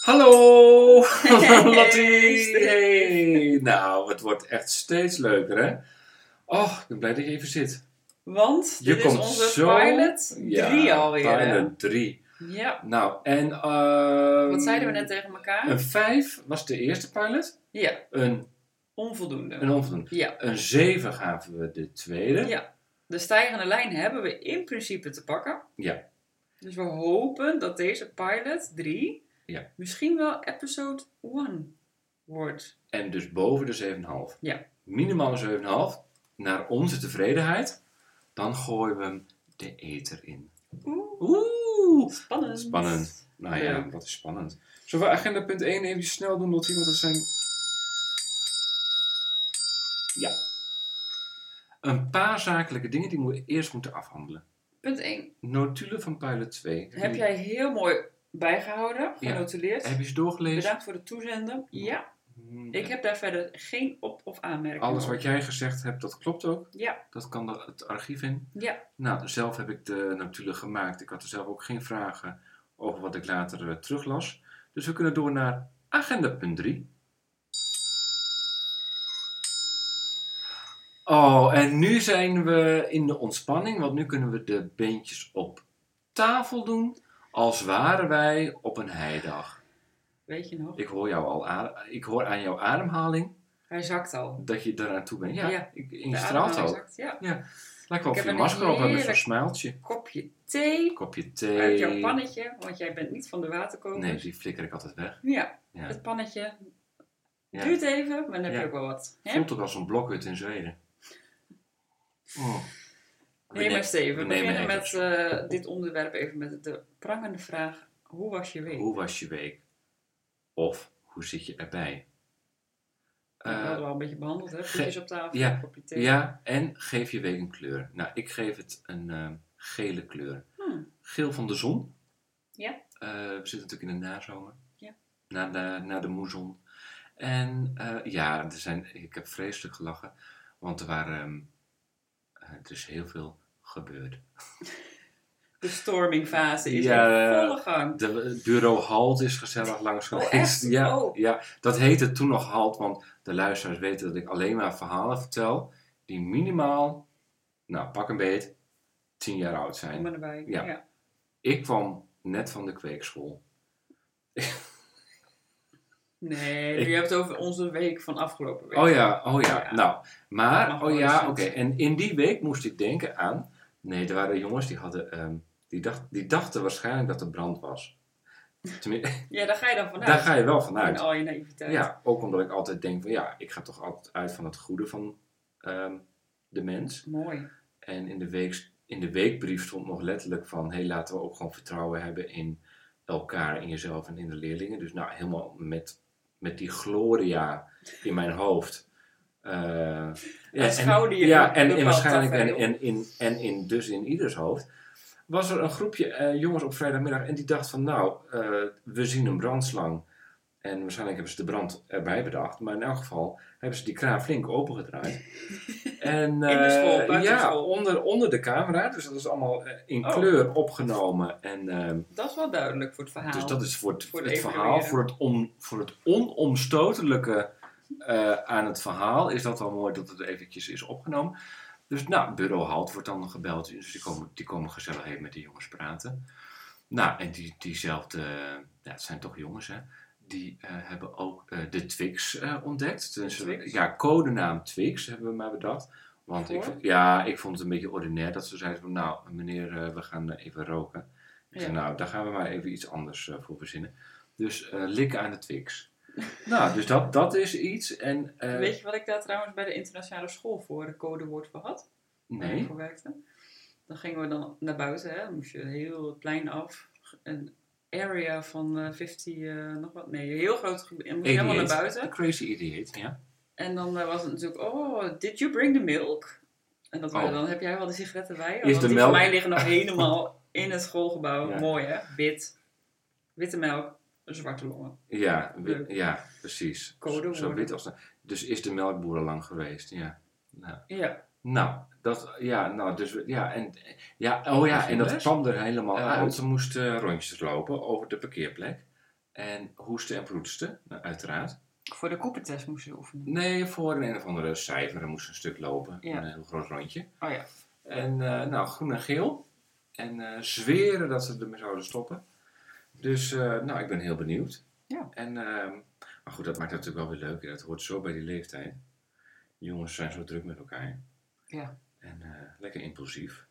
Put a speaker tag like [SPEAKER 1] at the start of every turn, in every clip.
[SPEAKER 1] Hallo,
[SPEAKER 2] Hey.
[SPEAKER 1] Latties. Hey. Nou, het wordt echt steeds leuker, hè? Oh, ik ben blij dat je even zit.
[SPEAKER 2] Want
[SPEAKER 1] Je
[SPEAKER 2] dit
[SPEAKER 1] komt
[SPEAKER 2] is onze
[SPEAKER 1] zo-
[SPEAKER 2] pilot 3 alweer. hè?
[SPEAKER 1] Pilot 3.
[SPEAKER 2] Ja.
[SPEAKER 1] Nou, en... ehm,
[SPEAKER 2] Wat zeiden we net tegen elkaar?
[SPEAKER 1] Een 5 was de eerste pilot.
[SPEAKER 2] Ja,
[SPEAKER 1] Een,
[SPEAKER 2] onvoldoende.
[SPEAKER 1] een onvoldoende.
[SPEAKER 2] Ja.
[SPEAKER 1] Een 7 gaven we de tweede.
[SPEAKER 2] ja. De stijgende lijn hebben we in principe te pakken.
[SPEAKER 1] Ja.
[SPEAKER 2] Dus we hopen dat deze pilot 3
[SPEAKER 1] Ja.
[SPEAKER 2] misschien wel episode 1 wordt.
[SPEAKER 1] En dus boven de 7,5.
[SPEAKER 2] Ja.
[SPEAKER 1] Minimaal een 7,5. Naar onze tevredenheid. Dan gooien we hem de ether in.
[SPEAKER 2] Oeh,
[SPEAKER 1] Oeh.
[SPEAKER 2] spannend.
[SPEAKER 1] Spannend. Nou ja,
[SPEAKER 2] Leuk.
[SPEAKER 1] wat is spannend. Zullen we agenda punt 1 even snel doen, Lottie? Want dat zijn... Ja. Een paar zakelijke dingen die we eerst moeten afhandelen.
[SPEAKER 2] Punt 1.
[SPEAKER 1] Notulen van pilot 2.
[SPEAKER 2] Heb jij heel mooi bijgehouden,
[SPEAKER 1] Ja.
[SPEAKER 2] genotuleerd.
[SPEAKER 1] Heb je ze doorgelezen?
[SPEAKER 2] Bedankt voor het toezenden. Ja,
[SPEAKER 1] Hmm,
[SPEAKER 2] ik heb daar verder geen op- of aanmerkingen
[SPEAKER 1] Alles
[SPEAKER 2] op.
[SPEAKER 1] wat jij gezegd hebt, dat klopt ook.
[SPEAKER 2] Ja.
[SPEAKER 1] Dat kan de- het archief in.
[SPEAKER 2] Ja.
[SPEAKER 1] Nou, zelf heb ik de notulen gemaakt. Ik had er zelf ook geen vragen over wat ik later eh, teruglas. Dus we kunnen door naar agenda punt 3. Oh, en nu zijn we in de ontspanning, want nu kunnen we de beentjes op tafel doen, als waren wij op een heidag.
[SPEAKER 2] Weet je nog?
[SPEAKER 1] Ik hoor, jou al adem- ik hoor aan jouw ademhaling
[SPEAKER 2] Hij zakt al.
[SPEAKER 1] dat je daaraan toe bent. Ja,
[SPEAKER 2] Ja.
[SPEAKER 1] Ik, en je
[SPEAKER 2] De
[SPEAKER 1] straalt
[SPEAKER 2] ademhaling
[SPEAKER 1] ook.
[SPEAKER 2] zakt, Ja.
[SPEAKER 1] Lijkt wel
[SPEAKER 2] Ik
[SPEAKER 1] of je
[SPEAKER 2] heb
[SPEAKER 1] een
[SPEAKER 2] een
[SPEAKER 1] masker op hebt met zo'n
[SPEAKER 2] heerlijk-
[SPEAKER 1] smaaltje.
[SPEAKER 2] Kopje thee
[SPEAKER 1] Kopje thee.
[SPEAKER 2] uit jouw pannetje, want jij bent niet van de waterkoker.
[SPEAKER 1] Nee, die flikker ik altijd weg.
[SPEAKER 2] Ja,
[SPEAKER 1] Ja.
[SPEAKER 2] het pannetje
[SPEAKER 1] Ja.
[SPEAKER 2] duurt even, maar dan heb je
[SPEAKER 1] Ja.
[SPEAKER 2] ook wel wat. Hè?
[SPEAKER 1] Voelt ook als een blokhut in Zweden. Oh. We
[SPEAKER 2] Nee,
[SPEAKER 1] ne-
[SPEAKER 2] maar Steven, we
[SPEAKER 1] we nemen
[SPEAKER 2] beginnen met
[SPEAKER 1] even-
[SPEAKER 2] eh, dit onderwerp even met de prangende vraag. Hoe was je week?
[SPEAKER 1] Hoe was je week? Of, hoe zit je erbij?
[SPEAKER 2] we hadden
[SPEAKER 1] Eh,
[SPEAKER 2] we al een beetje behandeld, hè?
[SPEAKER 1] ge-
[SPEAKER 2] Voetjes op tafel,
[SPEAKER 1] ja,
[SPEAKER 2] kopje thee.
[SPEAKER 1] ja, en geef je week een kleur. Nou, ik geef het een ehm, gele kleur.
[SPEAKER 2] Hmm.
[SPEAKER 1] Geel van de zon.
[SPEAKER 2] Ja.
[SPEAKER 1] Eh, we zitten natuurlijk in de nazomer.
[SPEAKER 2] Ja.
[SPEAKER 1] Na de, na de moezon. En eh, ja, er zijn, ik heb vreselijk gelachen. Want er, waren, ehm, eh, er is heel veel gebeurd.
[SPEAKER 2] De stormingfase is
[SPEAKER 1] Ja, eh,
[SPEAKER 2] in volle gang.
[SPEAKER 1] De bureau Halt is gezellig langs
[SPEAKER 2] Oh,
[SPEAKER 1] geweest.
[SPEAKER 2] echt?
[SPEAKER 1] Ja,
[SPEAKER 2] Oh.
[SPEAKER 1] ja, dat heette toen nog Halt, want de luisteraars weten dat ik alleen maar verhalen vertel die minimaal, nou pak een beet, tien jaar oud zijn.
[SPEAKER 2] Kom erbij.
[SPEAKER 1] Ja. Ik kwam net van de kweekschool.
[SPEAKER 2] Nee, nu
[SPEAKER 1] Ik-
[SPEAKER 2] je hebt het over onze week van afgelopen week.
[SPEAKER 1] Oh ja, oh ja.
[SPEAKER 2] Ja.
[SPEAKER 1] Nou,
[SPEAKER 2] Mag
[SPEAKER 1] maar, oh
[SPEAKER 2] wel
[SPEAKER 1] ja, oké.
[SPEAKER 2] eens iets.
[SPEAKER 1] En in die week moest ik denken aan. Nee, er waren jongens die hadden. ehm, die, dacht, die dachten waarschijnlijk dat er brand was. Tenminste,
[SPEAKER 2] Ja, Oh, daar ga je dan vanuit.
[SPEAKER 1] daar ga je wel
[SPEAKER 2] In
[SPEAKER 1] vanuit.
[SPEAKER 2] al je naïviteit.
[SPEAKER 1] Ja, ook omdat ik altijd denk van ja, ik ga toch altijd uit van het goede van ehm, de mens.
[SPEAKER 2] Mooi.
[SPEAKER 1] En in de, week, in de weekbrief stond nog letterlijk van hé, laten we ook gewoon vertrouwen hebben in elkaar, in jezelf en in de leerlingen. Dus nou, helemaal met, met die gloria in mijn hoofd. Eh, ja,
[SPEAKER 2] schouder je
[SPEAKER 1] ja,
[SPEAKER 2] een
[SPEAKER 1] en, en
[SPEAKER 2] bepaald
[SPEAKER 1] waarschijnlijk en,
[SPEAKER 2] tafereel.
[SPEAKER 1] en, in, en in, dus in ieders hoofd. Was er een groepje eh, jongens op vrijdagmiddag en die dacht van nou, eh, we zien een brandslang. En waarschijnlijk hebben ze de brand erbij bedacht. Maar in elk geval hebben ze die kraan flink opengedraaid. en,
[SPEAKER 2] In de school,
[SPEAKER 1] eh,
[SPEAKER 2] buiten de
[SPEAKER 1] ja,
[SPEAKER 2] school.
[SPEAKER 1] Onder, onder de camera. Dus dat is allemaal eh, in
[SPEAKER 2] Oh.
[SPEAKER 1] kleur opgenomen. En, ehm,
[SPEAKER 2] Dat is wel duidelijk voor het verhaal.
[SPEAKER 1] dus dat is voor het,
[SPEAKER 2] Voor
[SPEAKER 1] het
[SPEAKER 2] het
[SPEAKER 1] verhaal,
[SPEAKER 2] evalueren.
[SPEAKER 1] voor het, on, voor het onomstotelijke eh, aan het verhaal, is dat wel mooi dat het eventjes is opgenomen. Dus nou, bureau Halt wordt dan gebeld, dus die komen, die komen gezellig even met de jongens praten. Nou, en die, diezelfde, ja, het zijn toch jongens hè, die eh, hebben ook eh, de Twix eh, ontdekt. Dus,
[SPEAKER 2] Twix?
[SPEAKER 1] Ja, codenaam Twix hebben we maar bedacht. Want ik,
[SPEAKER 2] Voor?
[SPEAKER 1] v- ja, ik vond het een beetje ordinair dat ze zeiden van, nou meneer, eh, we gaan eh, even roken. Ik zei,
[SPEAKER 2] Ja.
[SPEAKER 1] nou, daar gaan we maar even iets anders eh, voor verzinnen. Dus eh, likken aan de Twix. nou, dus dat, dat is iets. En, eh,
[SPEAKER 2] Weet je wat ik daar trouwens bij de internationale school voor een codewoord voor had? Waar ik
[SPEAKER 1] Nee.
[SPEAKER 2] voor werkte? Dan gingen we dan naar buiten, hè? Dan moest je heel het plein af. Een area van eh, 50, eh, nog wat? Nee, een heel groot gebied. En moest je helemaal naar
[SPEAKER 1] 88.
[SPEAKER 2] buiten.
[SPEAKER 1] The Crazy Idiot, ja.
[SPEAKER 2] En dan eh, was het natuurlijk, oh, did you bring the milk? En dat waren
[SPEAKER 1] Oh.
[SPEAKER 2] dan heb jij wel de sigaretten bij.
[SPEAKER 1] Is
[SPEAKER 2] want
[SPEAKER 1] de
[SPEAKER 2] die
[SPEAKER 1] melk-
[SPEAKER 2] van mij liggen nog helemaal in het schoolgebouw.
[SPEAKER 1] Ja.
[SPEAKER 2] Mooi hè, wit. Witte melk, zwarte longen.
[SPEAKER 1] Ja, wi-
[SPEAKER 2] Leuk.
[SPEAKER 1] ja precies.
[SPEAKER 2] Codewoorden.
[SPEAKER 1] Zo wit als... Dus is de melkboer al lang geweest, ja.
[SPEAKER 2] Ja,
[SPEAKER 1] Nou, dat, ja, nou, dus, we- ja, en, ja, oh ja,
[SPEAKER 3] Misschien
[SPEAKER 1] en dat
[SPEAKER 3] best.
[SPEAKER 2] Oh.
[SPEAKER 1] kwam er helemaal
[SPEAKER 3] Eh,
[SPEAKER 1] uit. Want ze moesten rondjes lopen over de parkeerplek. En hoesten en proesten, nou, uiteraard.
[SPEAKER 2] Voor de koepentest moesten ze oefenen.
[SPEAKER 1] Nee, voor een of andere cijfer. Er moest een stuk lopen.
[SPEAKER 2] Ja.
[SPEAKER 1] Een heel groot rondje.
[SPEAKER 2] Oh ja.
[SPEAKER 1] En eh, nou, groen en geel. En eh, zweren dat ze ermee zouden stoppen. Dus eh, nou, ik ben heel benieuwd.
[SPEAKER 2] Ja.
[SPEAKER 1] En, ehm, maar goed, dat maakt het natuurlijk wel weer leuk. Dat hoort zo bij die leeftijd. Jongens zijn zo druk met elkaar.
[SPEAKER 2] Ja.
[SPEAKER 1] En eh, lekker impulsief.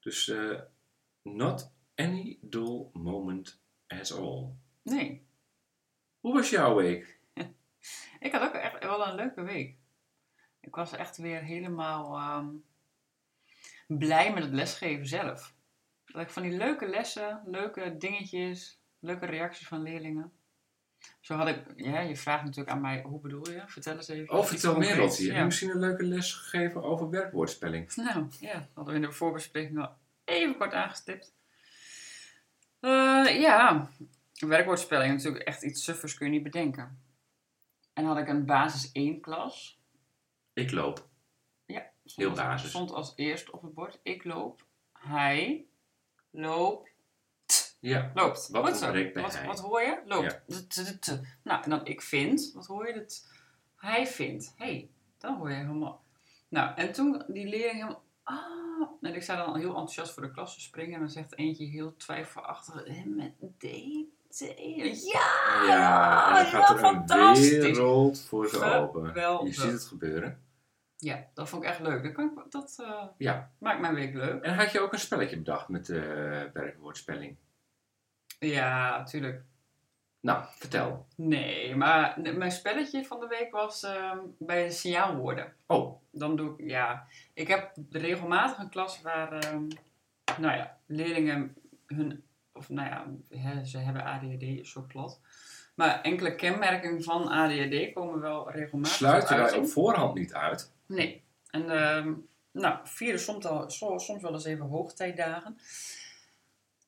[SPEAKER 1] Dus eh, not any dull moment at all.
[SPEAKER 2] Nee.
[SPEAKER 1] Hoe was jouw week?
[SPEAKER 2] Ik had ook echt wel een leuke week. Ik was echt weer helemaal ehm, blij met het lesgeven zelf. Dat ik van die leuke lessen, leuke dingetjes, leuke reacties van leerlingen. Zo had ik, ja, je vraagt natuurlijk aan mij, hoe bedoel je? Vertel eens even.
[SPEAKER 1] Oh, vertel meer,
[SPEAKER 2] wat
[SPEAKER 1] Lottie. Heb je
[SPEAKER 2] Ja.
[SPEAKER 1] misschien een leuke les gegeven over werkwoordspelling?
[SPEAKER 2] Nou, ja, dat hadden we in de voorbespreking al even kort aangestipt. Eh, ja, werkwoordspelling is natuurlijk echt iets suffers kun je niet bedenken. En had ik een basis 1 klas.
[SPEAKER 1] Ik loop.
[SPEAKER 2] Stond-
[SPEAKER 1] Heel dus. basis.
[SPEAKER 2] Stond als eerst op het bord. Ik loop. Hij loopt.
[SPEAKER 1] Ja.
[SPEAKER 2] Loopt.
[SPEAKER 1] Wat
[SPEAKER 2] Goed zo.
[SPEAKER 1] ontbreekt bij
[SPEAKER 2] wat,
[SPEAKER 1] hij?
[SPEAKER 2] wat hoor je? Loopt.
[SPEAKER 1] Ja.
[SPEAKER 2] T- t- t- t. Nou, en dan ik vind. Wat hoor je? Dat hij vindt. Hé, hey, dan hoor je helemaal. Nou, en toen die leerling helemaal... Ah, en ik sta dan heel enthousiast voor de klas te springen. En dan zegt eentje heel twijfelachtig... "Hè, Met D, T. Ja!
[SPEAKER 1] Ah, Ja, en dan
[SPEAKER 2] ja,
[SPEAKER 1] gaat er een
[SPEAKER 2] fantastisch.
[SPEAKER 1] wereld voor ze open. Je
[SPEAKER 2] Geweldig.
[SPEAKER 1] ziet het gebeuren.
[SPEAKER 2] Ja, dat vond ik echt leuk. Dat, kan ik, dat eh,
[SPEAKER 1] Ja.
[SPEAKER 2] maakt mijn week leuk.
[SPEAKER 1] En had je ook een spelletje bedacht met eh werkwoordspelling?
[SPEAKER 2] Ja, tuurlijk.
[SPEAKER 1] Nou, vertel.
[SPEAKER 2] Nee, maar n- mijn spelletje van de week was ehm, bij de signaalwoorden.
[SPEAKER 1] Oh,
[SPEAKER 2] Dan doe ik, ja, ik heb regelmatig een klas waar, ehm, nou ja, leerlingen hun, of nou ja, hè, ze hebben ADHD, is zo plat. Maar enkele kenmerken van ADHD komen wel regelmatig
[SPEAKER 1] sluit je
[SPEAKER 2] tot
[SPEAKER 1] daar
[SPEAKER 2] uiting.
[SPEAKER 1] op voorhand niet uit?
[SPEAKER 2] Nee. En ehm, nou, vieren soms, al, so- soms wel eens even hoogtijdagen.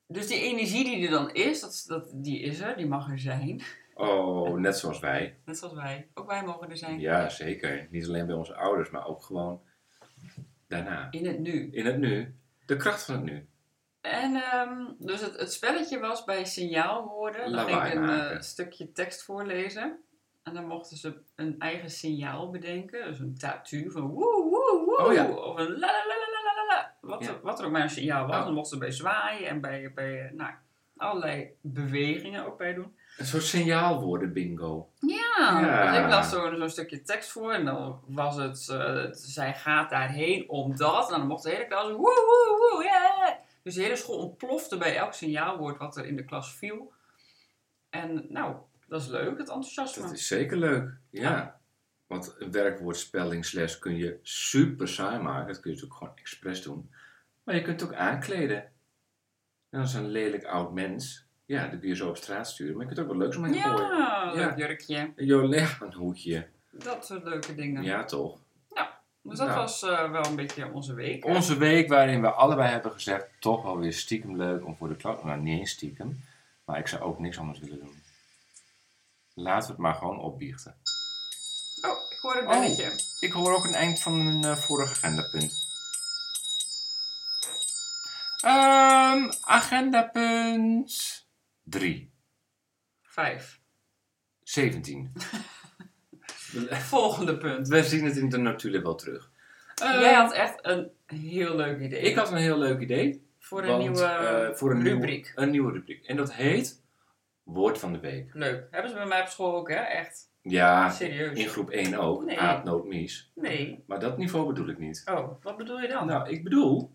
[SPEAKER 2] Dus die energie die er dan is, dat, dat, die is er, die mag er zijn.
[SPEAKER 1] Oh, net zoals wij.
[SPEAKER 2] Net zoals wij. Ook wij mogen er zijn.
[SPEAKER 1] Ja, zeker. Niet alleen bij onze ouders, maar ook gewoon daarna.
[SPEAKER 2] In het nu.
[SPEAKER 1] In het nu. De kracht van het nu.
[SPEAKER 2] En ehm, dus het, het spelletje was bij signaalwoorden. Dan ging ik
[SPEAKER 1] Lawaai
[SPEAKER 2] een
[SPEAKER 1] maken.
[SPEAKER 2] eh, stukje tekst voorlezen. En dan mochten ze een eigen signaal bedenken. Dus een tattoo van woe, woe, woe.
[SPEAKER 1] Oh ja.
[SPEAKER 2] Of een la, la, la, la, la, la, la. Wat,
[SPEAKER 1] Ja.
[SPEAKER 2] er- wat er ook maar een signaal was.
[SPEAKER 1] Oh.
[SPEAKER 2] Dan mochten ze bij zwaaien en bij, bij eh, nou, allerlei bewegingen ook bij doen.
[SPEAKER 1] Een soort signaalwoorden bingo.
[SPEAKER 2] Ja,
[SPEAKER 1] Ja.
[SPEAKER 2] Ah, want ik las zo- zo'n stukje tekst voor en dan was het, eh, zij gaat daarheen omdat. En dan mocht de hele klas, woe, woe, woe, yeah. Dus de hele school ontplofte bij elk signaalwoord wat er in de klas viel. En nou, dat is leuk, het enthousiasme.
[SPEAKER 1] Dat is zeker leuk. Ja. Want een werkwoordspelling slash kun je super saai maken. Dat kun je natuurlijk gewoon expres doen. Maar je kunt het ook aankleden. En als een lelijk oud mens, ja, dan kun je zo op straat sturen. Maar je kunt er ook wat leuks omheen gooien.
[SPEAKER 2] Ja,
[SPEAKER 1] Ja.
[SPEAKER 2] leuk jurkje.
[SPEAKER 1] Een joleg, een hoekje.
[SPEAKER 2] Dat soort leuke
[SPEAKER 1] Ja,
[SPEAKER 2] dingen.
[SPEAKER 1] toch?
[SPEAKER 2] Dus dat
[SPEAKER 1] Nou.
[SPEAKER 2] was eh, wel een beetje onze week.
[SPEAKER 1] Onze week waarin we allebei hebben gezegd, toch wel weer stiekem leuk om voor de klas... Nou, niet eens stiekem. Maar ik zou ook niks anders willen doen. Laten we het maar gewoon opbiechten.
[SPEAKER 2] Oh, ik hoor een
[SPEAKER 1] Oh.
[SPEAKER 2] belletje.
[SPEAKER 1] Ik hoor ook een eind van een eh, vorig agendapunt. Ehm agendapunt 3.
[SPEAKER 2] Vijf.
[SPEAKER 1] 17. we,
[SPEAKER 2] Volgende punt.
[SPEAKER 1] we zien het in de notulen wel terug. Eh,
[SPEAKER 2] Jij had echt een heel leuk idee.
[SPEAKER 1] Ik had een heel leuk idee.
[SPEAKER 2] voor een
[SPEAKER 1] want,
[SPEAKER 2] nieuwe
[SPEAKER 1] eh, voor een nieuwe-
[SPEAKER 2] rubriek.
[SPEAKER 1] een nieuwe rubriek. En dat heet Woord van de Week.
[SPEAKER 2] Leuk. Hebben ze bij mij op school ook, hè? Echt.
[SPEAKER 1] Ja, in
[SPEAKER 2] Serieus.
[SPEAKER 1] groep 1 ook.
[SPEAKER 2] Nee.
[SPEAKER 1] Aad, nood, mies.
[SPEAKER 2] Nee.
[SPEAKER 1] Maar dat niveau bedoel ik niet.
[SPEAKER 2] Oh, wat bedoel je dan?
[SPEAKER 1] Nou, ik bedoel,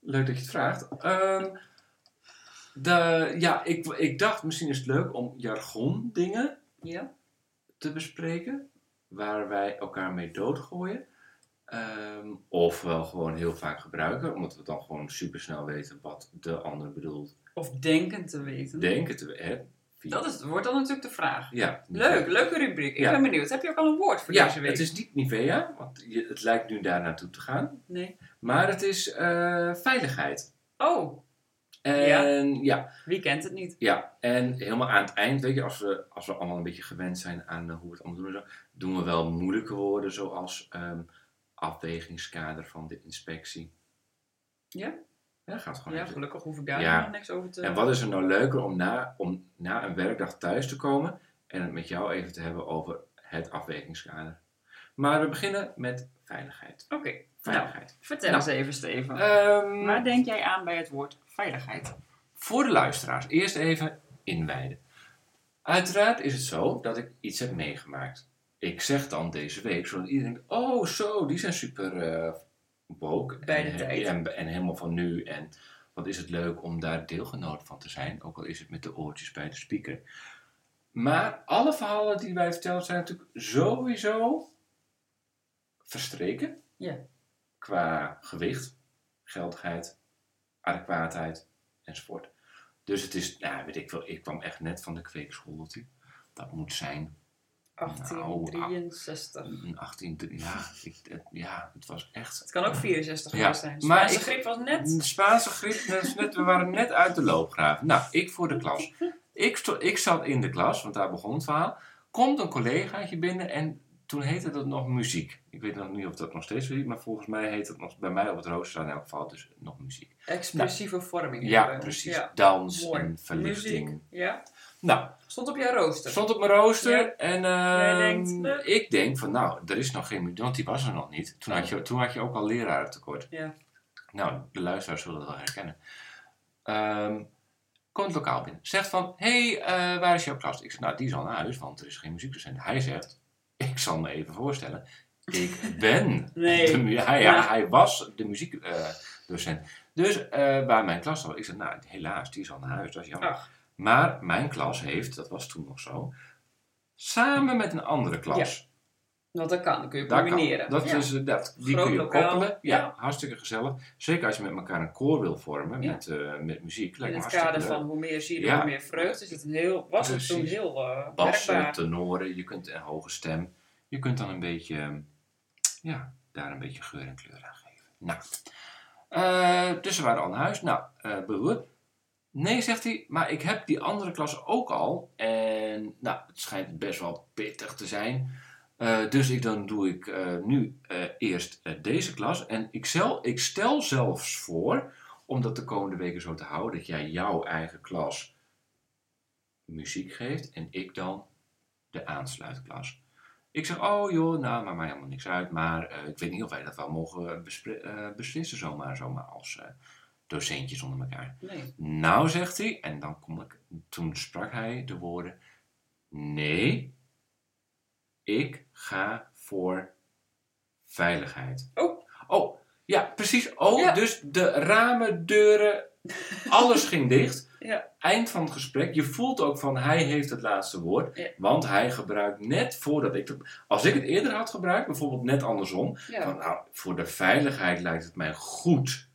[SPEAKER 1] leuk dat je het vraagt. Ehm, de, ja, ik, ik dacht misschien is het leuk om jargon dingen
[SPEAKER 2] Ja.
[SPEAKER 1] te bespreken. Waar wij elkaar mee doodgooien. Ehm, of wel gewoon heel vaak gebruiken. Omdat we dan gewoon supersnel weten wat de ander bedoelt.
[SPEAKER 2] Of denken te weten.
[SPEAKER 1] Denken te hè? Via-
[SPEAKER 2] Hm. Dat is, wordt dan natuurlijk de vraag.
[SPEAKER 1] Ja,
[SPEAKER 2] Leuk, leuke rubriek. Ik
[SPEAKER 1] Ja.
[SPEAKER 2] ben benieuwd. Heb je ook al een woord voor
[SPEAKER 1] Ja,
[SPEAKER 2] deze week?
[SPEAKER 1] het is niet Nivea. Want je, het lijkt nu daar naartoe te gaan.
[SPEAKER 2] Nee.
[SPEAKER 1] Maar het is eh, veiligheid.
[SPEAKER 2] Oh,
[SPEAKER 1] En ja,
[SPEAKER 2] wie kent het niet?
[SPEAKER 1] Ja, en helemaal aan het eind, weet je, als we, als we allemaal een beetje gewend zijn aan eh, hoe we het allemaal doen, en zo, doen we wel moeilijke woorden zoals ehm, afwegingskader van de inspectie.
[SPEAKER 2] Ja.
[SPEAKER 1] Ja, gaat gewoon
[SPEAKER 2] Ja, eh,
[SPEAKER 1] even.
[SPEAKER 2] gelukkig hoef ik daar
[SPEAKER 1] Ja.
[SPEAKER 2] helemaal niks over te...
[SPEAKER 1] En wat is er nou leuker om na, om na een werkdag thuis te komen en het met jou even te hebben over het afwegingskader. Maar we beginnen met veiligheid.
[SPEAKER 2] Oké, nou,
[SPEAKER 1] Veiligheid.
[SPEAKER 2] vertel
[SPEAKER 1] Nou.
[SPEAKER 2] eens even Steven.
[SPEAKER 1] Ehm,
[SPEAKER 2] Waar denk jij aan bij het woord veiligheid?
[SPEAKER 1] voor de luisteraars, eerst even inwijden. Uiteraard is het zo dat ik iets heb meegemaakt. Ik zeg dan deze week, zodat iedereen denkt, oh zo, die zijn super eh woke.
[SPEAKER 2] Bij de
[SPEAKER 1] en,
[SPEAKER 2] tijd.
[SPEAKER 1] En, en helemaal van nu. En wat is het leuk om daar deelgenoot van te zijn. Ook al is het met de oortjes bij de speaker. Maar alle verhalen die wij vertellen zijn natuurlijk sowieso verstreken.
[SPEAKER 2] Ja.
[SPEAKER 1] Qua gewicht, geldigheid, adequaatheid enzovoort. Dus het is, nou weet ik wel, ik kwam echt net van de kweekschool. dat ik- Dat moet zijn ah.
[SPEAKER 2] 1863.
[SPEAKER 1] een 18, drie- ja, ik, het, ja, het was echt.
[SPEAKER 2] Het kan ook 64
[SPEAKER 1] Ja,
[SPEAKER 2] geweest zijn.
[SPEAKER 1] maar
[SPEAKER 2] Maar de
[SPEAKER 1] ik- Nou.
[SPEAKER 2] griep was
[SPEAKER 1] Een
[SPEAKER 2] net...
[SPEAKER 1] Spaanse griep, net- net, we waren net uit de loopgraven. Nou, ik voor de klas. Ik, sto- ik zat in de klas, want daar begon het verhaal. Komt een collegaatje binnen en toen heette dat nog muziek. Ik weet nog niet of dat nog steeds zo heet, maar volgens mij heet het nog, bij mij op het rooster in elk geval dus nog muziek.
[SPEAKER 2] Expressieve vorming.
[SPEAKER 1] Ja,
[SPEAKER 2] hebben.
[SPEAKER 1] precies.
[SPEAKER 2] Ja.
[SPEAKER 1] Dans
[SPEAKER 2] mooi.
[SPEAKER 1] en verlichting.
[SPEAKER 2] Muziek. Ja.
[SPEAKER 1] Nou,
[SPEAKER 2] Stond op jouw rooster.
[SPEAKER 1] Stond op mijn rooster
[SPEAKER 2] Ja.
[SPEAKER 1] en
[SPEAKER 2] Jij
[SPEAKER 1] ehm,
[SPEAKER 2] denkt, eh.
[SPEAKER 1] ik denk van nou, er is nog geen muziek, want die was er nog niet. Toen had je, toen had je ook al lerarentekort.
[SPEAKER 2] Ja.
[SPEAKER 1] Nou, de luisteraars zullen dat wel herkennen. Ehm, komt lokaal binnen. Zegt van, hey, eh, waar is jouw klas? Ik zeg, nou, die is al naar huis, want er is geen muziekdocent. Hij zegt, ik zal me even voorstellen, ik ben.
[SPEAKER 2] Nee.
[SPEAKER 1] de mu- hij,
[SPEAKER 2] Ja.
[SPEAKER 1] hij was de muziekdocent. dus eh, waar mijn klas al, ik zeg, nou, helaas, die is al naar huis, dat is jammer.
[SPEAKER 2] Ach,
[SPEAKER 1] Maar mijn klas heeft, dat was toen nog zo, samen met een andere klas.
[SPEAKER 2] want nou, dat kan. Dan kun je
[SPEAKER 1] Daar kan-
[SPEAKER 2] combineren.
[SPEAKER 1] dat
[SPEAKER 2] ja.
[SPEAKER 1] is, eh, dat, die
[SPEAKER 2] Groot
[SPEAKER 1] kun je
[SPEAKER 2] lokaal.
[SPEAKER 1] koppelen. Ja,
[SPEAKER 2] Ja.
[SPEAKER 1] hartstikke gezellig. Zeker als je met elkaar een koor wil vormen
[SPEAKER 2] Ja.
[SPEAKER 1] met, eh, met muziek. Lijkt
[SPEAKER 2] In
[SPEAKER 1] me
[SPEAKER 2] het
[SPEAKER 1] hartstikke
[SPEAKER 2] kader
[SPEAKER 1] leuk.
[SPEAKER 2] van hoe meer zielen,
[SPEAKER 1] Ja.
[SPEAKER 2] hoe meer vreugd. Is het een heel, was het toen
[SPEAKER 1] Precies.
[SPEAKER 2] heel eh
[SPEAKER 1] Bassen,
[SPEAKER 2] werkbaar.
[SPEAKER 1] tenoren, je kunt een hoge stem. Je kunt dan een beetje, eh, ja, daar een beetje geur en kleur aan geven. Nou, eh, dus ze waren al naar huis. Nou, eh behoor. Nee, zegt hij, maar ik heb die andere klas ook al. En nou, het schijnt best wel pittig te zijn. Eh, dus ik, dan doe ik eh, nu eh, eerst eh, deze klas. En ik, zel, ik stel zelfs voor, om dat de komende weken zo te houden, dat jij jouw eigen klas muziek geeft en ik dan de aansluitklas. Ik zeg, oh joh, nou, maakt mij helemaal niks uit, maar eh, ik weet niet of wij dat wel mogen bespre- eh, beslissen zomaar, zomaar als eh, docentjes onder elkaar.
[SPEAKER 2] Nee.
[SPEAKER 1] Nou, zegt hij, en dan kom ik, toen sprak hij de woorden: Nee, ik ga voor veiligheid.
[SPEAKER 2] Oh.
[SPEAKER 1] Oh, ja, precies. Oh,
[SPEAKER 2] Ja.
[SPEAKER 1] dus de ramen, deuren, alles ging dicht.
[SPEAKER 2] Ja.
[SPEAKER 1] Eind van het gesprek. Je voelt ook van hij heeft het laatste woord.
[SPEAKER 2] Ja.
[SPEAKER 1] Want hij gebruikt net voordat ik het. Als ik het eerder had gebruikt, bijvoorbeeld net andersom.
[SPEAKER 2] Ja.
[SPEAKER 1] Van, nou, voor de veiligheid lijkt het mij goed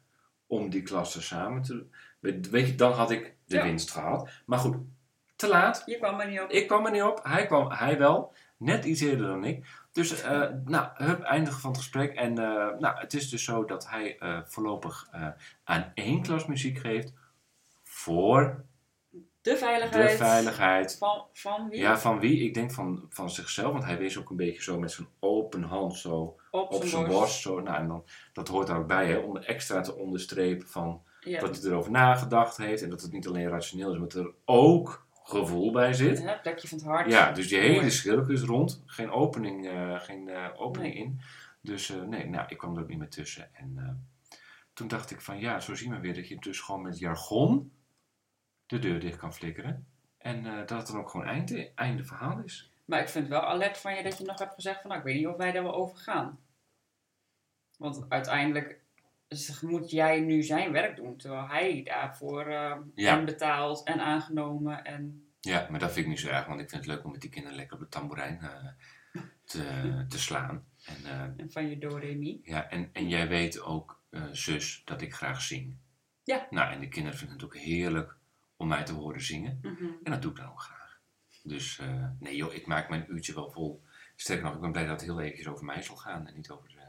[SPEAKER 1] om die klassen samen te doen. Weet, weet je, dan had ik de
[SPEAKER 2] Ja.
[SPEAKER 1] winst gehad. Maar goed, te laat.
[SPEAKER 2] Je kwam er niet op.
[SPEAKER 1] Ik kwam er niet op. Hij kwam, hij wel. Net iets eerder dan ik. Dus, eh nou, hup, eindigen van het gesprek. En, eh, nou, het is dus zo dat hij eh, voorlopig eh, aan één klas muziek geeft. Voor
[SPEAKER 2] De veiligheid.
[SPEAKER 1] de veiligheid.
[SPEAKER 2] Van, van wie?
[SPEAKER 1] Ja, van wie? Ik denk van, van zichzelf. Want hij wees ook een beetje zo met zijn open hand zo op zijn borst. Zo, nou, en dan, dat hoort daar ook bij, hè, om extra te onderstrepen van
[SPEAKER 2] Ja.
[SPEAKER 1] dat hij erover nagedacht heeft. En dat het niet alleen rationeel is, maar dat er ook gevoel bij zit.
[SPEAKER 2] Ja, het plekje van het hart.
[SPEAKER 1] Ja, dus die hele
[SPEAKER 2] Mooi.
[SPEAKER 1] schilk is rond. Geen opening, eh, geen, eh, opening
[SPEAKER 2] Nee.
[SPEAKER 1] in. Dus eh, nee, nou, ik kwam er ook niet meer tussen. En eh, toen dacht ik van, ja, zo zien we weer dat je dus gewoon met jargon de deur dicht kan flikkeren. En eh, dat het dan ook gewoon einde, einde verhaal is.
[SPEAKER 2] Maar ik vind het wel alert van je dat je nog hebt gezegd van, nou, ik weet niet of wij daar wel over gaan. Want uiteindelijk z- moet jij nu zijn werk doen, terwijl hij daarvoor eh
[SPEAKER 1] Ja.
[SPEAKER 2] en betaald en aangenomen en...
[SPEAKER 1] Ja, maar dat vind ik niet zo erg, want ik vind het leuk om met die kinderen lekker op de tamboerijn eh, te, te slaan. En, eh,
[SPEAKER 2] En van je Doremi.
[SPEAKER 1] ja, en, en jij weet ook, eh, zus, dat ik graag zing.
[SPEAKER 2] Ja.
[SPEAKER 1] Nou, en de kinderen vinden het ook heerlijk om mij te horen zingen. En dat doe ik dan ook graag. Dus eh, nee joh, ik maak mijn uurtje wel vol. Sterker nog, ik ben blij dat het heel eventjes over mij zal gaan en niet over... eh,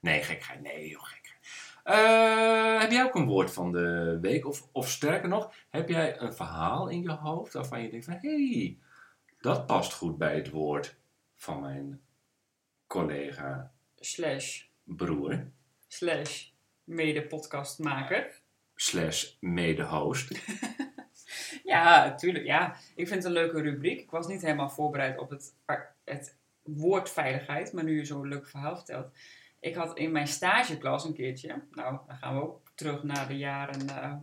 [SPEAKER 1] Nee, gekheid. Nee joh, gekheid. Eh, heb jij ook een woord van de week? Of, of sterker nog, heb jij een verhaal in je hoofd waarvan je denkt van... Hé, hey, dat past goed bij het woord van mijn collega
[SPEAKER 2] Slash,
[SPEAKER 1] broer.
[SPEAKER 2] slash, mede-podcastmaker.
[SPEAKER 1] slash mede-host.
[SPEAKER 2] Ja, tuurlijk. Ja, ik vind het een leuke rubriek. Ik was niet helemaal voorbereid op het, het woord veiligheid, maar nu je zo'n leuk verhaal vertelt. Ik had in mijn stageklas een keertje, nou, dan gaan we ook terug naar de jaren eh,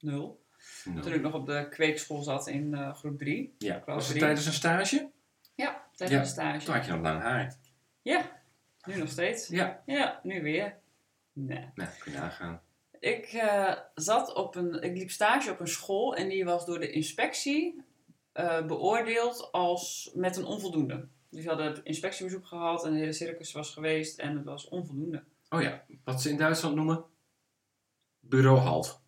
[SPEAKER 2] nul. Toen ik nog op de kweekschool zat in eh, groep 3.
[SPEAKER 1] Ja.
[SPEAKER 2] Klas
[SPEAKER 1] Was het
[SPEAKER 2] drie.
[SPEAKER 1] tijdens een stage?
[SPEAKER 2] Ja, tijdens
[SPEAKER 1] Ja,
[SPEAKER 2] een stage.
[SPEAKER 1] Toen had je nog lang haar.
[SPEAKER 2] Ja, nu nog steeds.
[SPEAKER 1] Ja.
[SPEAKER 2] Ja, nu weer. Nee.
[SPEAKER 1] Nou, kun je nagaan.
[SPEAKER 2] Ik, eh, zat op een, ik liep stage op een school en die was door de inspectie eh, beoordeeld als met een onvoldoende. Dus we hadden het inspectiebezoek gehad en de hele circus was geweest en het was onvoldoende.
[SPEAKER 1] Oh ja, wat ze in Duitsland noemen? Bureau halt.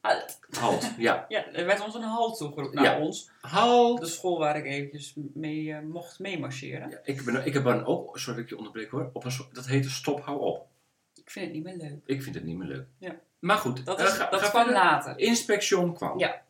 [SPEAKER 2] Halt.
[SPEAKER 1] Halt, ja.
[SPEAKER 2] Ah, Ja, er werd ons een halt toegeroepen. Nou,
[SPEAKER 1] Ja.
[SPEAKER 2] ons.
[SPEAKER 1] Halt.
[SPEAKER 2] De school waar ik eventjes mee eh, mocht meemarcheren.
[SPEAKER 1] Ja, ik, ben, ik heb dan ook, sorry dat ik je onderbreek hoor, op een, soort- dat heette stop, hou op.
[SPEAKER 2] Ik vind het niet meer leuk.
[SPEAKER 1] Ik vind het niet meer leuk.
[SPEAKER 2] Ja.
[SPEAKER 1] Maar goed,
[SPEAKER 2] Dat,
[SPEAKER 1] eh,
[SPEAKER 2] is,
[SPEAKER 1] ga-
[SPEAKER 2] dat
[SPEAKER 1] ga
[SPEAKER 2] kwam
[SPEAKER 1] verder.
[SPEAKER 2] later.
[SPEAKER 1] Inspection kwam.
[SPEAKER 2] Ja.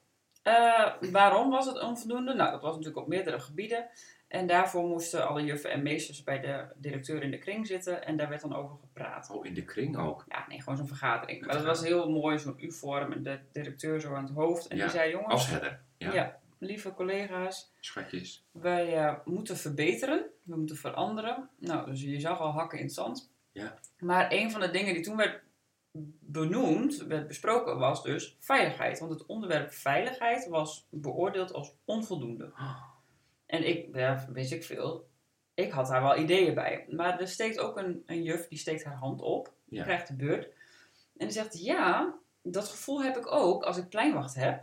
[SPEAKER 2] Eh, waarom was het onvoldoende? Nou, dat was natuurlijk op meerdere gebieden. En daarvoor moesten alle juffen en meesters bij de directeur in de kring zitten. En daar werd dan over gepraat.
[SPEAKER 1] Oh, in de kring ook.
[SPEAKER 2] Ja, nee, gewoon zo'n vergadering. Maar dat was heel mooi, zo'n U-vorm. En de directeur zo aan het hoofd. En
[SPEAKER 1] Ja,
[SPEAKER 2] die zei, jongens,
[SPEAKER 1] Als herder. Ja.
[SPEAKER 2] ja, lieve collega's,
[SPEAKER 1] Schatjes.
[SPEAKER 2] wij eh, moeten verbeteren, we moeten veranderen. Nou, dus je zag al hakken in het zand.
[SPEAKER 1] Ja.
[SPEAKER 2] Maar een van de dingen die toen werd benoemd, werd besproken, was dus veiligheid. Want het onderwerp veiligheid was beoordeeld als onvoldoende.
[SPEAKER 1] Oh,
[SPEAKER 2] En ik, ja, weet ik veel, ik had daar wel ideeën bij. Maar er steekt ook een, een juf, die steekt haar hand op,
[SPEAKER 1] Ja.
[SPEAKER 2] krijgt de beurt. En die zegt, ja, dat gevoel heb ik ook als ik pleinwacht heb.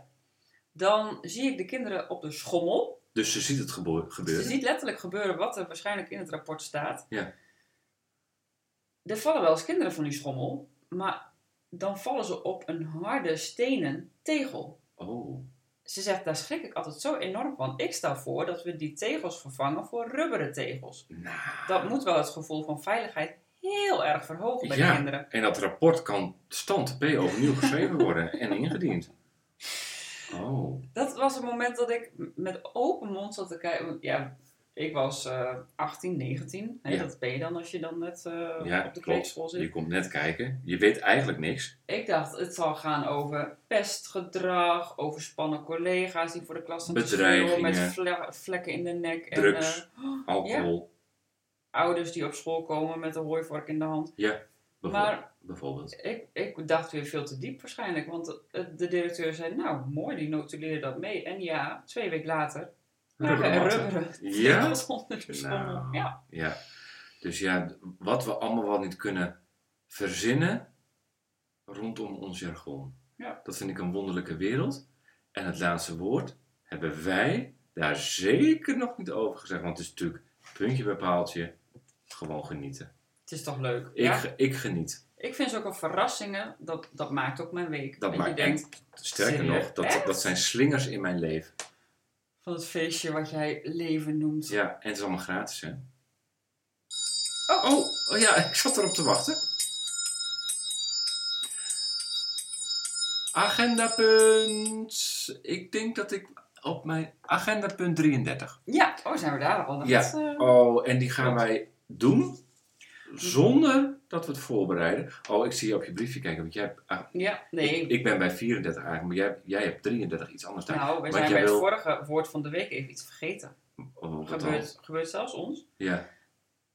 [SPEAKER 2] Dan zie ik de kinderen op de schommel.
[SPEAKER 1] Dus ze ziet het gebo-
[SPEAKER 2] Je
[SPEAKER 1] gebeuren.
[SPEAKER 2] ziet letterlijk gebeuren wat er waarschijnlijk in het rapport staat.
[SPEAKER 1] Ja.
[SPEAKER 2] Er vallen wel eens kinderen van die schommel, maar dan vallen ze op een harde stenen tegel.
[SPEAKER 1] Oh,
[SPEAKER 2] Ze zegt, daar schrik ik altijd zo enorm van. Ik stel voor dat we die tegels vervangen voor rubberen tegels.
[SPEAKER 1] nou.
[SPEAKER 2] Dat moet wel het gevoel van veiligheid heel erg verhogen bij
[SPEAKER 1] Ja.
[SPEAKER 2] de kinderen.
[SPEAKER 1] En dat rapport kan stand P overnieuw geschreven worden en ingediend. Oh,
[SPEAKER 2] Dat was het moment dat ik m- met open mond zat te kijken. want Ja, ik was eh 18, 19. Hè,
[SPEAKER 1] Ja.
[SPEAKER 2] Dat ben je dan als je dan net eh,
[SPEAKER 1] ja,
[SPEAKER 2] op
[SPEAKER 1] klopt.
[SPEAKER 2] de kleedschool zit.
[SPEAKER 1] Je komt net kijken. Je weet eigenlijk niks.
[SPEAKER 2] Ik dacht, het zal gaan over pestgedrag, overspannen collega's die voor de klas aan het schreeuwen met
[SPEAKER 1] Bedreigingen.
[SPEAKER 2] vle- vlekken in de nek.
[SPEAKER 1] Drugs.
[SPEAKER 2] En eh,
[SPEAKER 1] Alcohol,
[SPEAKER 2] ouders die op school komen met een hooivork in de hand.
[SPEAKER 1] bijvoorbeeld.
[SPEAKER 2] Maar
[SPEAKER 1] bijvoorbeeld.
[SPEAKER 2] ik, ik dacht weer veel te diep waarschijnlijk, want de, de directeur zei, nou mooi, die notuleerde dat mee. En ja, twee weken later lagen
[SPEAKER 1] Rubberen
[SPEAKER 2] er
[SPEAKER 1] matten.
[SPEAKER 2] rubberen
[SPEAKER 1] Ja?
[SPEAKER 2] tegels onder de school.
[SPEAKER 1] Nou,
[SPEAKER 2] Ja.
[SPEAKER 1] ja. Dus ja, d- wat we allemaal wel niet kunnen verzinnen rondom ons jargon.
[SPEAKER 2] Ja.
[SPEAKER 1] Dat vind ik een wonderlijke wereld. En het laatste woord hebben wij daar zeker nog niet over gezegd. Want het is natuurlijk puntje bij paaltje gewoon genieten.
[SPEAKER 2] Het is toch leuk?
[SPEAKER 1] Ik,
[SPEAKER 2] ja?
[SPEAKER 1] ge- ik geniet.
[SPEAKER 2] ik vind ze ook al verrassingen, dat, dat maakt ook mijn week.
[SPEAKER 1] Dat
[SPEAKER 2] en
[SPEAKER 1] maakt
[SPEAKER 2] je denkt,
[SPEAKER 1] Sterker
[SPEAKER 2] Serieus?
[SPEAKER 1] nog, dat,
[SPEAKER 2] Echt?
[SPEAKER 1] dat zijn slingers in mijn leven.
[SPEAKER 2] van het feestje wat jij leven noemt.
[SPEAKER 1] Ja, en het is allemaal gratis, hè?
[SPEAKER 2] Oh.
[SPEAKER 1] oh, oh ja, ik zat erop te wachten. Agendapunt. Ik denk dat ik op mijn agenda punt 33.
[SPEAKER 2] Ja, oh, zijn we daar al? Dat
[SPEAKER 1] Ja.
[SPEAKER 2] is, eh,
[SPEAKER 1] Oh, en die gaan wij doen zonder dat we het voorbereiden. Oh, ik zie je op je briefje kijken, want jij hebt, ah,
[SPEAKER 2] ja, nee.
[SPEAKER 1] ik, ik ben bij 34 eigenlijk, maar jij, jij hebt 33 iets anders staan.
[SPEAKER 2] nou, we
[SPEAKER 1] want
[SPEAKER 2] zijn
[SPEAKER 1] jij
[SPEAKER 2] bij
[SPEAKER 1] wil-
[SPEAKER 2] het vorige woord van de week even iets vergeten.
[SPEAKER 1] Oh, wat dan?
[SPEAKER 2] Gebeurt, gebeurt zelfs ons.
[SPEAKER 1] Ja,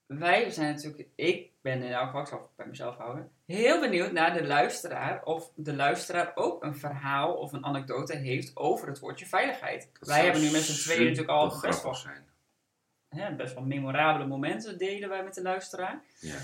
[SPEAKER 2] Wij zijn natuurlijk, ik ben in elk geval, ik zal het bij mezelf houden, heel benieuwd naar de luisteraar of de luisteraar ook een verhaal of een anekdote heeft over het woordje veiligheid.
[SPEAKER 1] dat
[SPEAKER 2] wij
[SPEAKER 1] zou
[SPEAKER 2] hebben nu met z'n tweeën natuurlijk al
[SPEAKER 1] supergrappig
[SPEAKER 2] best wel,
[SPEAKER 1] zijn.
[SPEAKER 2] hè, best wel memorabele momenten delen wij met de luisteraar.
[SPEAKER 1] Ja.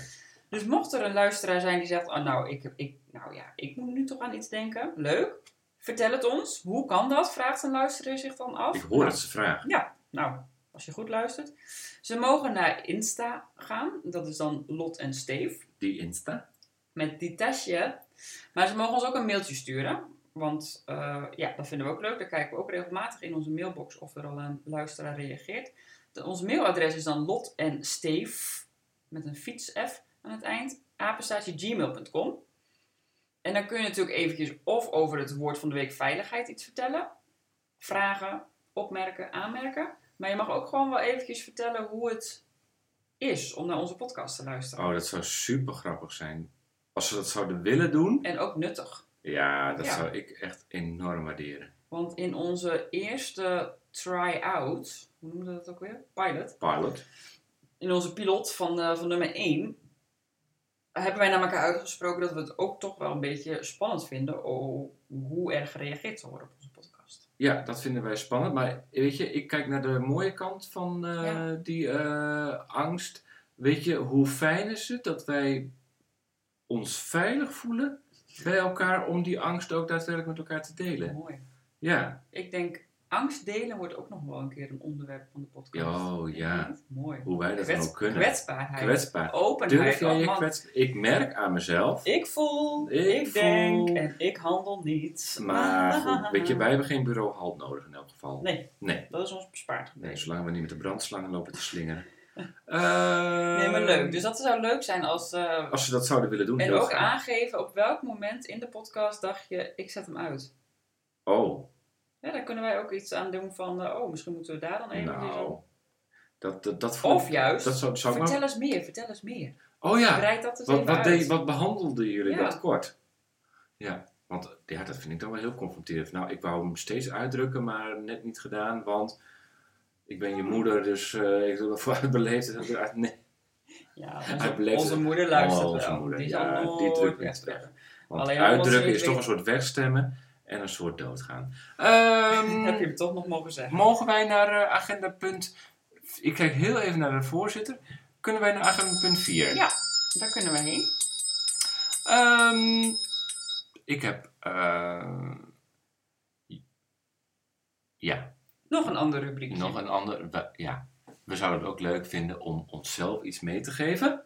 [SPEAKER 2] Dus mocht er een luisteraar zijn die zegt, oh, nou, ik, ik, nou ja, ik moet nu toch aan iets denken. Leuk. Vertel het ons. Hoe kan dat? Vraagt een luisteraar zich dan af.
[SPEAKER 1] Ik hoor dat ze vragen.
[SPEAKER 2] Nou, als je goed luistert. Ze mogen naar Insta gaan. Dat is dan Lot en Steef.
[SPEAKER 1] Die Insta?
[SPEAKER 2] Met die tasje. Maar ze mogen ons ook een mailtje sturen. Want eh, ja, dat vinden we ook leuk. Daar kijken we ook regelmatig in onze mailbox of er al een luisteraar reageert. De- ons mailadres is dan Lot en Steef. Met een fiets F aan het eind. apenstaartje gmail.com. En dan kun je natuurlijk eventjes of over het woord van de week veiligheid iets vertellen. Vragen, opmerken, aanmerken. Maar je mag ook gewoon wel eventjes vertellen hoe het is om naar onze podcast te luisteren.
[SPEAKER 1] Oh, dat zou super grappig zijn. Als ze dat zouden willen doen,
[SPEAKER 2] En ook nuttig.
[SPEAKER 1] ja, dat
[SPEAKER 2] Ja.
[SPEAKER 1] zou ik echt enorm waarderen.
[SPEAKER 2] Want in onze eerste try-out, hoe noemen we dat ook weer? Pilot.
[SPEAKER 1] Pilot.
[SPEAKER 2] In onze pilot van, eh, van nummer 1 hebben wij naar elkaar uitgesproken dat we het ook toch wel een beetje spannend vinden o- hoe erg gereageerd zal worden op onze podcast.
[SPEAKER 1] Ja, dat vinden wij spannend. Maar weet je, ik kijk naar de mooie kant van eh,
[SPEAKER 2] Ja.
[SPEAKER 1] die eh, angst. Weet je, hoe fijn is het dat wij ons veilig voelen bij elkaar om die angst ook daadwerkelijk met elkaar te delen?
[SPEAKER 2] Mooi.
[SPEAKER 1] Ja,
[SPEAKER 2] Ik denk, angst delen wordt ook nog wel een keer een onderwerp van de podcast.
[SPEAKER 1] oh ja,
[SPEAKER 2] Mooi.
[SPEAKER 1] hoe wij dat dan
[SPEAKER 2] Kwets-
[SPEAKER 1] ook kunnen.
[SPEAKER 2] Kwetsbaarheid.
[SPEAKER 1] Kwetsbaar.
[SPEAKER 2] Openheid.
[SPEAKER 1] Durf jij
[SPEAKER 2] oh
[SPEAKER 1] je
[SPEAKER 2] man.
[SPEAKER 1] kwetsbaar? Ik merk aan mezelf.
[SPEAKER 2] Ik voel, ik,
[SPEAKER 1] Ik
[SPEAKER 2] denk
[SPEAKER 1] voel.
[SPEAKER 2] en ik handel niet.
[SPEAKER 1] Maar goed, weet je, wij hebben geen bureau halt nodig in elk geval.
[SPEAKER 2] Nee,
[SPEAKER 1] Nee,
[SPEAKER 2] dat is ons bespaard.
[SPEAKER 1] nee zolang we niet met de brandslangen lopen te slingeren.
[SPEAKER 2] Nee, maar
[SPEAKER 1] Eh,
[SPEAKER 2] leuk. Dus dat zou leuk zijn als... eh,
[SPEAKER 1] Als ze dat zouden willen doen,
[SPEAKER 2] en
[SPEAKER 1] heel
[SPEAKER 2] ook
[SPEAKER 1] graag.
[SPEAKER 2] aangeven op welk moment in de podcast dacht je, ik zet hem uit.
[SPEAKER 1] Oh,
[SPEAKER 2] Ja, daar kunnen wij ook iets aan doen van, eh, oh, misschien moeten we daar dan even...
[SPEAKER 1] nou. Dat, dat, dat vond
[SPEAKER 2] Of
[SPEAKER 1] ik-
[SPEAKER 2] juist,
[SPEAKER 1] Dat zou, zou ik
[SPEAKER 2] vertel
[SPEAKER 1] wel-
[SPEAKER 2] eens meer, vertel eens meer.
[SPEAKER 1] Oh ja,
[SPEAKER 2] Breid dat eens
[SPEAKER 1] wat,
[SPEAKER 2] even
[SPEAKER 1] wat,
[SPEAKER 2] uit.
[SPEAKER 1] deed- wat behandelden jullie
[SPEAKER 2] Ja.
[SPEAKER 1] dat kort? Ja, want ja, dat vind ik dan wel heel confronterend. Nou, ik wou hem steeds uitdrukken, maar net niet gedaan, want ik ben je
[SPEAKER 2] Hmm.
[SPEAKER 1] moeder, dus eh, ik wil dat vooruit beleefd. Nee.
[SPEAKER 2] Ja,
[SPEAKER 1] Hij
[SPEAKER 2] onze,
[SPEAKER 1] beleeft
[SPEAKER 2] onze
[SPEAKER 1] het.
[SPEAKER 2] moeder luistert
[SPEAKER 1] Oh, onze
[SPEAKER 2] wel.
[SPEAKER 1] moeder,
[SPEAKER 2] Die
[SPEAKER 1] ja,
[SPEAKER 2] zal
[SPEAKER 1] die
[SPEAKER 2] nooit
[SPEAKER 1] drukt niet
[SPEAKER 2] wegwerken.
[SPEAKER 1] Want
[SPEAKER 2] Alleen omdat ze
[SPEAKER 1] uitdrukken
[SPEAKER 2] niet
[SPEAKER 1] is toch een
[SPEAKER 2] weten-
[SPEAKER 1] soort wegstemmen en een soort doodgaan. Ehm,
[SPEAKER 2] Heb je hem toch nog mogen zeggen.
[SPEAKER 1] mogen wij naar eh, agenda punt... Ik kijk heel even naar de voorzitter. Kunnen wij naar agenda punt 4?
[SPEAKER 2] Ja, daar kunnen we heen.
[SPEAKER 1] Ehm, ik heb... eh, ja,
[SPEAKER 2] Nog een ander rubriekje.
[SPEAKER 1] nog een ander... we- ja, we zouden het ook leuk vinden om onszelf iets mee te geven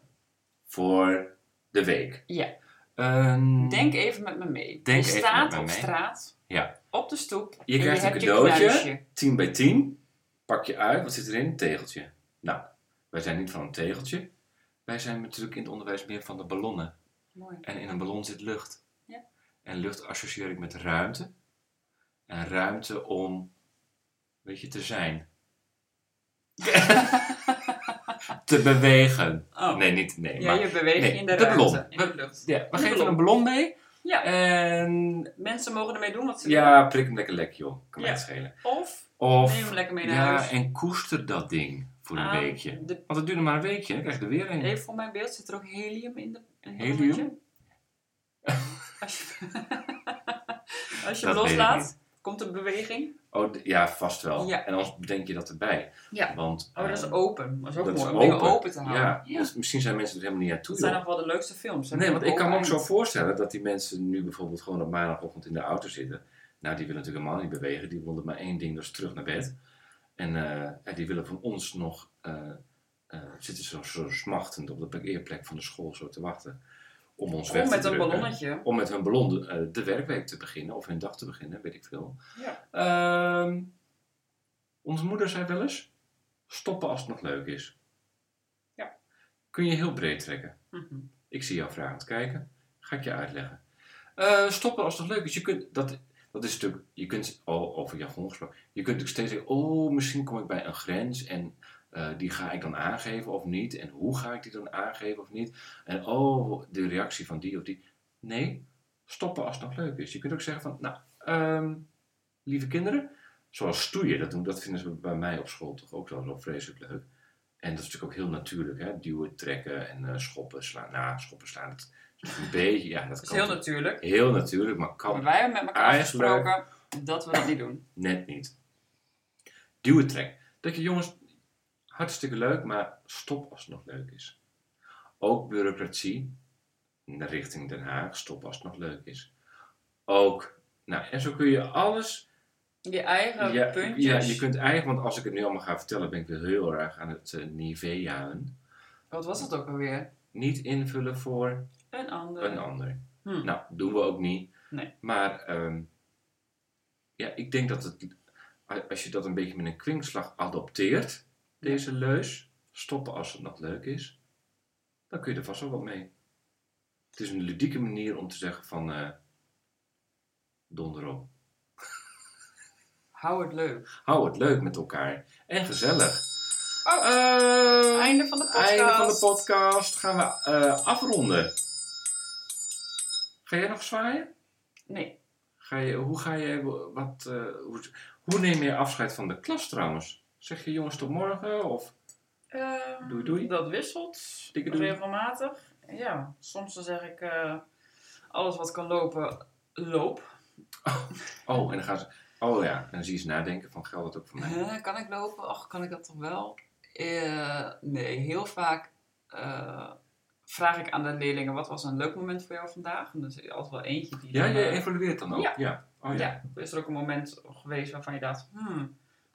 [SPEAKER 1] voor de week.
[SPEAKER 2] Ja.
[SPEAKER 1] Ehm,
[SPEAKER 2] Denk even met me mee.
[SPEAKER 1] Denk
[SPEAKER 2] je
[SPEAKER 1] even
[SPEAKER 2] staat
[SPEAKER 1] met me
[SPEAKER 2] op
[SPEAKER 1] mee.
[SPEAKER 2] straat,
[SPEAKER 1] Ja.
[SPEAKER 2] op de stoep.
[SPEAKER 1] Je
[SPEAKER 2] en
[SPEAKER 1] krijgt een
[SPEAKER 2] hebt je
[SPEAKER 1] cadeautje.
[SPEAKER 2] knuisje.
[SPEAKER 1] 10 bij 10. Pak je uit. Wat zit erin? Een tegeltje. Nou, wij zijn niet van een tegeltje. Wij zijn natuurlijk in het onderwijs meer van de ballonnen.
[SPEAKER 2] Mooi.
[SPEAKER 1] En in een ballon zit lucht.
[SPEAKER 2] Ja.
[SPEAKER 1] En lucht associeer ik met ruimte. En ruimte om, weet je, te zijn. te bewegen.
[SPEAKER 2] Oh.
[SPEAKER 1] Nee, niet, nee.
[SPEAKER 2] ja,
[SPEAKER 1] maar,
[SPEAKER 2] je beweegt
[SPEAKER 1] nee,
[SPEAKER 2] in de,
[SPEAKER 1] de
[SPEAKER 2] ruimte.
[SPEAKER 1] ballon.
[SPEAKER 2] In de lucht.
[SPEAKER 1] ja, we
[SPEAKER 2] de
[SPEAKER 1] geven
[SPEAKER 2] ballon.
[SPEAKER 1] een ballon mee.
[SPEAKER 2] Ja,
[SPEAKER 1] En
[SPEAKER 2] mensen mogen ermee doen wat ze
[SPEAKER 1] ja, prik hem lekker lek, joh. Kan
[SPEAKER 2] Ja.
[SPEAKER 1] mij het schelen.
[SPEAKER 2] willen. Of
[SPEAKER 1] Of,
[SPEAKER 2] neem hem lekker mee naar
[SPEAKER 1] ja,
[SPEAKER 2] huis.
[SPEAKER 1] en koester dat ding voor een
[SPEAKER 2] Aan
[SPEAKER 1] weekje.
[SPEAKER 2] de-
[SPEAKER 1] Want het duurde maar een weekje, dan krijg je er weer een.
[SPEAKER 2] even voor mijn beeld zit er ook helium in de in het
[SPEAKER 1] Helium?
[SPEAKER 2] ballonnetje? Als je, als je hem
[SPEAKER 1] Dat weet ik
[SPEAKER 2] loslaat, komt er beweging.
[SPEAKER 1] Oh, d- ja, vast wel.
[SPEAKER 2] Ja.
[SPEAKER 1] En anders bedenk je dat erbij.
[SPEAKER 2] Ja.
[SPEAKER 1] Want,
[SPEAKER 2] Oh, dat
[SPEAKER 1] eh,
[SPEAKER 2] is open. Dat is ook
[SPEAKER 1] dat
[SPEAKER 2] mooi,
[SPEAKER 1] is
[SPEAKER 2] om dingen
[SPEAKER 1] open.
[SPEAKER 2] open te houden.
[SPEAKER 1] Ja, dus misschien zijn mensen er helemaal niet aan toe.
[SPEAKER 2] Dat zijn
[SPEAKER 1] joh.
[SPEAKER 2] nog wel de leukste films. hè?
[SPEAKER 1] Nee, want ik kan me ook
[SPEAKER 2] Open.
[SPEAKER 1] zo voorstellen dat die mensen nu bijvoorbeeld gewoon op maandagochtend in de auto zitten. Nou, die willen natuurlijk helemaal niet bewegen. Die willen maar één ding, dat is terug naar bed. En eh, en die willen van ons nog... eh, eh, zitten zo, zo smachtend op de parkeerplek van de school zo te wachten. Om ons weg
[SPEAKER 2] Kom
[SPEAKER 1] te
[SPEAKER 2] met een
[SPEAKER 1] drukken.
[SPEAKER 2] ballonnetje.
[SPEAKER 1] Om met hun ballon eh, de werkweek te beginnen. Of hun dag te beginnen, weet ik veel.
[SPEAKER 2] Ja.
[SPEAKER 1] Ehm, onze moeder zei wel eens: stoppen als het nog leuk is.
[SPEAKER 2] Ja.
[SPEAKER 1] Kun je heel breed trekken.
[SPEAKER 2] Mhm.
[SPEAKER 1] Ik zie jou vragend kijken. Ga ik je uitleggen. Eh, stoppen als het nog leuk is. Je kunt, dat, dat is natuurlijk, je kunt, oh, over jargon gesproken, je kunt natuurlijk steeds zeggen, oh, misschien kom ik bij een grens en eh, die ga ik dan aangeven of niet. En hoe ga ik die dan aangeven of niet. En oh, de reactie van die of die. Nee, stoppen als het nog leuk is. Je kunt ook zeggen van, nou, ehm, lieve kinderen, zoals stoeien, dat, doen, dat vinden ze bij mij op school toch ook wel zo vreselijk leuk. En dat is natuurlijk ook heel natuurlijk, hè? duwen, trekken en eh, schoppen, slaan. Nou, schoppen, slaan, dat is toch een beetje, ja, dat
[SPEAKER 2] Dat is
[SPEAKER 1] kan
[SPEAKER 2] heel
[SPEAKER 1] toch-
[SPEAKER 2] natuurlijk.
[SPEAKER 1] Heel natuurlijk, maar kan
[SPEAKER 2] Maar wij hebben met elkaar
[SPEAKER 1] Eigenlijk-
[SPEAKER 2] afgesproken dat we dat niet doen.
[SPEAKER 1] net niet. Duwen trek. Dat je jongens, hartstikke leuk, maar stop als het nog leuk is. Ook bureaucratie in de richting Den Haag, stop als het nog leuk is. Ook, nou, en zo kun je alles.
[SPEAKER 2] Je eigen
[SPEAKER 1] ja,
[SPEAKER 2] puntjes.
[SPEAKER 1] ja, je kunt eigenlijk, want als ik het nu allemaal ga vertellen, ben ik weer heel erg aan het eh, niveauen.
[SPEAKER 2] Wat was dat ook alweer?
[SPEAKER 1] Niet invullen voor
[SPEAKER 2] Een ander.
[SPEAKER 1] een ander.
[SPEAKER 2] Hm.
[SPEAKER 1] Nou, doen we ook niet.
[SPEAKER 2] Nee.
[SPEAKER 1] Maar ehm, ja, ik denk dat het, als je dat een beetje met een kwinkslag adopteert, deze leus, stoppen als het nog leuk is, dan kun je er vast wel wat mee. Het is een ludieke manier om te zeggen van eh donder op.
[SPEAKER 2] Hou het leuk.
[SPEAKER 1] Hou het leuk met elkaar en gezellig.
[SPEAKER 2] Oh,
[SPEAKER 1] Eh,
[SPEAKER 2] einde van de podcast.
[SPEAKER 1] einde van de podcast gaan we eh, afronden. Ga jij nog zwaaien?
[SPEAKER 2] Nee.
[SPEAKER 1] Ga je, hoe ga je, wat, eh, hoe, hoe neem je afscheid van de klas trouwens? Zeg je jongens tot morgen of
[SPEAKER 2] Ehm,
[SPEAKER 1] Doei, doei.
[SPEAKER 2] Dat wisselt
[SPEAKER 1] Dikke doei.
[SPEAKER 2] regelmatig. Ja, soms dan zeg ik eh, alles wat kan lopen, loop.
[SPEAKER 1] Oh, en dan gaan ze. Oh ja, en dan zie je ze nadenken: van geldt dat ook voor mij?
[SPEAKER 2] Hè, kan ik lopen? Och, kan ik dat toch wel? Eh, nee, heel vaak eh, vraag ik aan de leerlingen wat was een leuk moment voor jou vandaag. En dan zit er altijd wel eentje die
[SPEAKER 1] Ja,
[SPEAKER 2] dan,
[SPEAKER 1] je
[SPEAKER 2] eh,
[SPEAKER 1] evalueert dan ook. Ja.
[SPEAKER 2] Ja.
[SPEAKER 1] Oh ja.
[SPEAKER 2] ja, is er ook een moment geweest waarvan je dacht, hmm,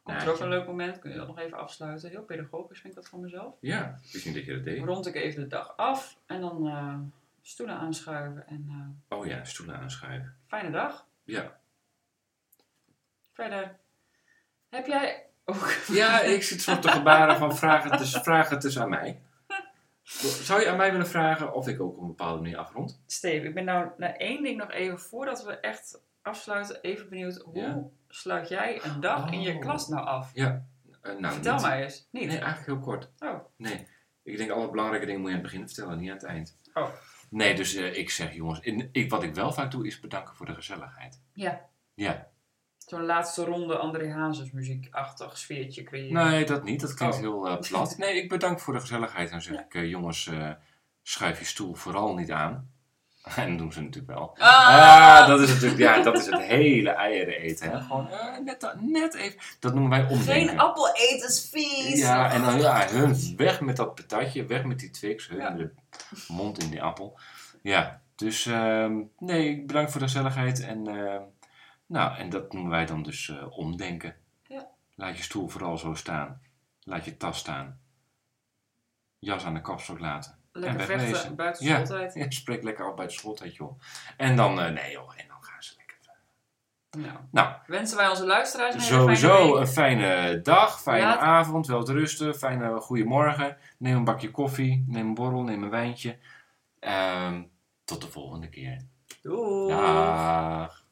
[SPEAKER 2] komt er
[SPEAKER 1] Naadje.
[SPEAKER 2] ook een leuk moment? Kun je dat nog even afsluiten? Heel pedagogisch vind ik dat voor mezelf.
[SPEAKER 1] Ja, misschien dat je dat deed.
[SPEAKER 2] Rond ik even de dag af en dan eh, stoelen aanschuiven en eh,
[SPEAKER 1] Oh ja, stoelen aanschuiven.
[SPEAKER 2] fijne dag.
[SPEAKER 1] Ja.
[SPEAKER 2] Verder, heb jij ook...
[SPEAKER 1] Ja, ik zit zo te gebaren van vraag het, dus, vraag het dus aan mij. Zou je aan mij willen vragen of ik ook op een bepaalde manier afrond?
[SPEAKER 2] Steve, ik ben nou naar één ding nog even, voordat we echt afsluiten, even benieuwd. Hoe
[SPEAKER 1] Ja.
[SPEAKER 2] sluit jij een dag in je
[SPEAKER 1] Oh.
[SPEAKER 2] klas nou af?
[SPEAKER 1] Eh, nou,
[SPEAKER 2] Vertel
[SPEAKER 1] niet.
[SPEAKER 2] mij eens. Niet?
[SPEAKER 1] Nee, eigenlijk heel kort.
[SPEAKER 2] Oh.
[SPEAKER 1] Nee. Ik denk alle belangrijke dingen moet je aan het begin vertellen, niet aan het eind.
[SPEAKER 2] Oh.
[SPEAKER 1] Nee, dus eh, ik zeg jongens, in, ik, wat ik wel vaak doe is bedanken voor de gezelligheid.
[SPEAKER 2] Ja.
[SPEAKER 1] Ja.
[SPEAKER 2] Zo'n laatste ronde André Hazes muziekachtig sfeertje creëren.
[SPEAKER 1] Nee, dat niet. Dat klinkt
[SPEAKER 2] Oh.
[SPEAKER 1] heel eh, plat. Nee, ik bedank voor de gezelligheid. Dan zeg ik, eh, jongens, eh, schuif je stoel vooral niet aan. En dat doen ze natuurlijk wel. Ah, dat is natuurlijk, ja, dat is het hele eieren eten. Hè? Gewoon eh, net, dat- net even, dat noemen wij omdenken.
[SPEAKER 2] Geen appel eten is vies.
[SPEAKER 1] Ja, en dan ja, hun weg met dat patatje, weg met die Twix, hun
[SPEAKER 2] Ja.
[SPEAKER 1] de mond in die appel. Ja, dus ehm, nee, bedankt voor de gezelligheid. En, ehm, nou, en dat noemen wij dan dus eh, omdenken.
[SPEAKER 2] Ja.
[SPEAKER 1] Laat je stoel vooral zo staan. Laat je tas staan. Jas aan de kapstok laten.
[SPEAKER 2] Lekker
[SPEAKER 1] En
[SPEAKER 2] vechten,
[SPEAKER 1] wegwezen.
[SPEAKER 2] buiten
[SPEAKER 1] Ja.
[SPEAKER 2] schooltijd.
[SPEAKER 1] Ja, spreek lekker af bij het schooltijd, joh. En dan, eh, nee joh, en dan gaan ze lekker.
[SPEAKER 2] Nou,
[SPEAKER 1] Nou,
[SPEAKER 2] wensen wij onze luisteraars een hele fijne
[SPEAKER 1] Sowieso
[SPEAKER 2] week.
[SPEAKER 1] een fijne dag, fijne
[SPEAKER 2] Laat-
[SPEAKER 1] avond, welterusten, fijne goede morgen. Neem een bakje koffie, neem een borrel, neem een wijntje. Ehm, tot de volgende keer.
[SPEAKER 2] Doei.
[SPEAKER 1] Dag.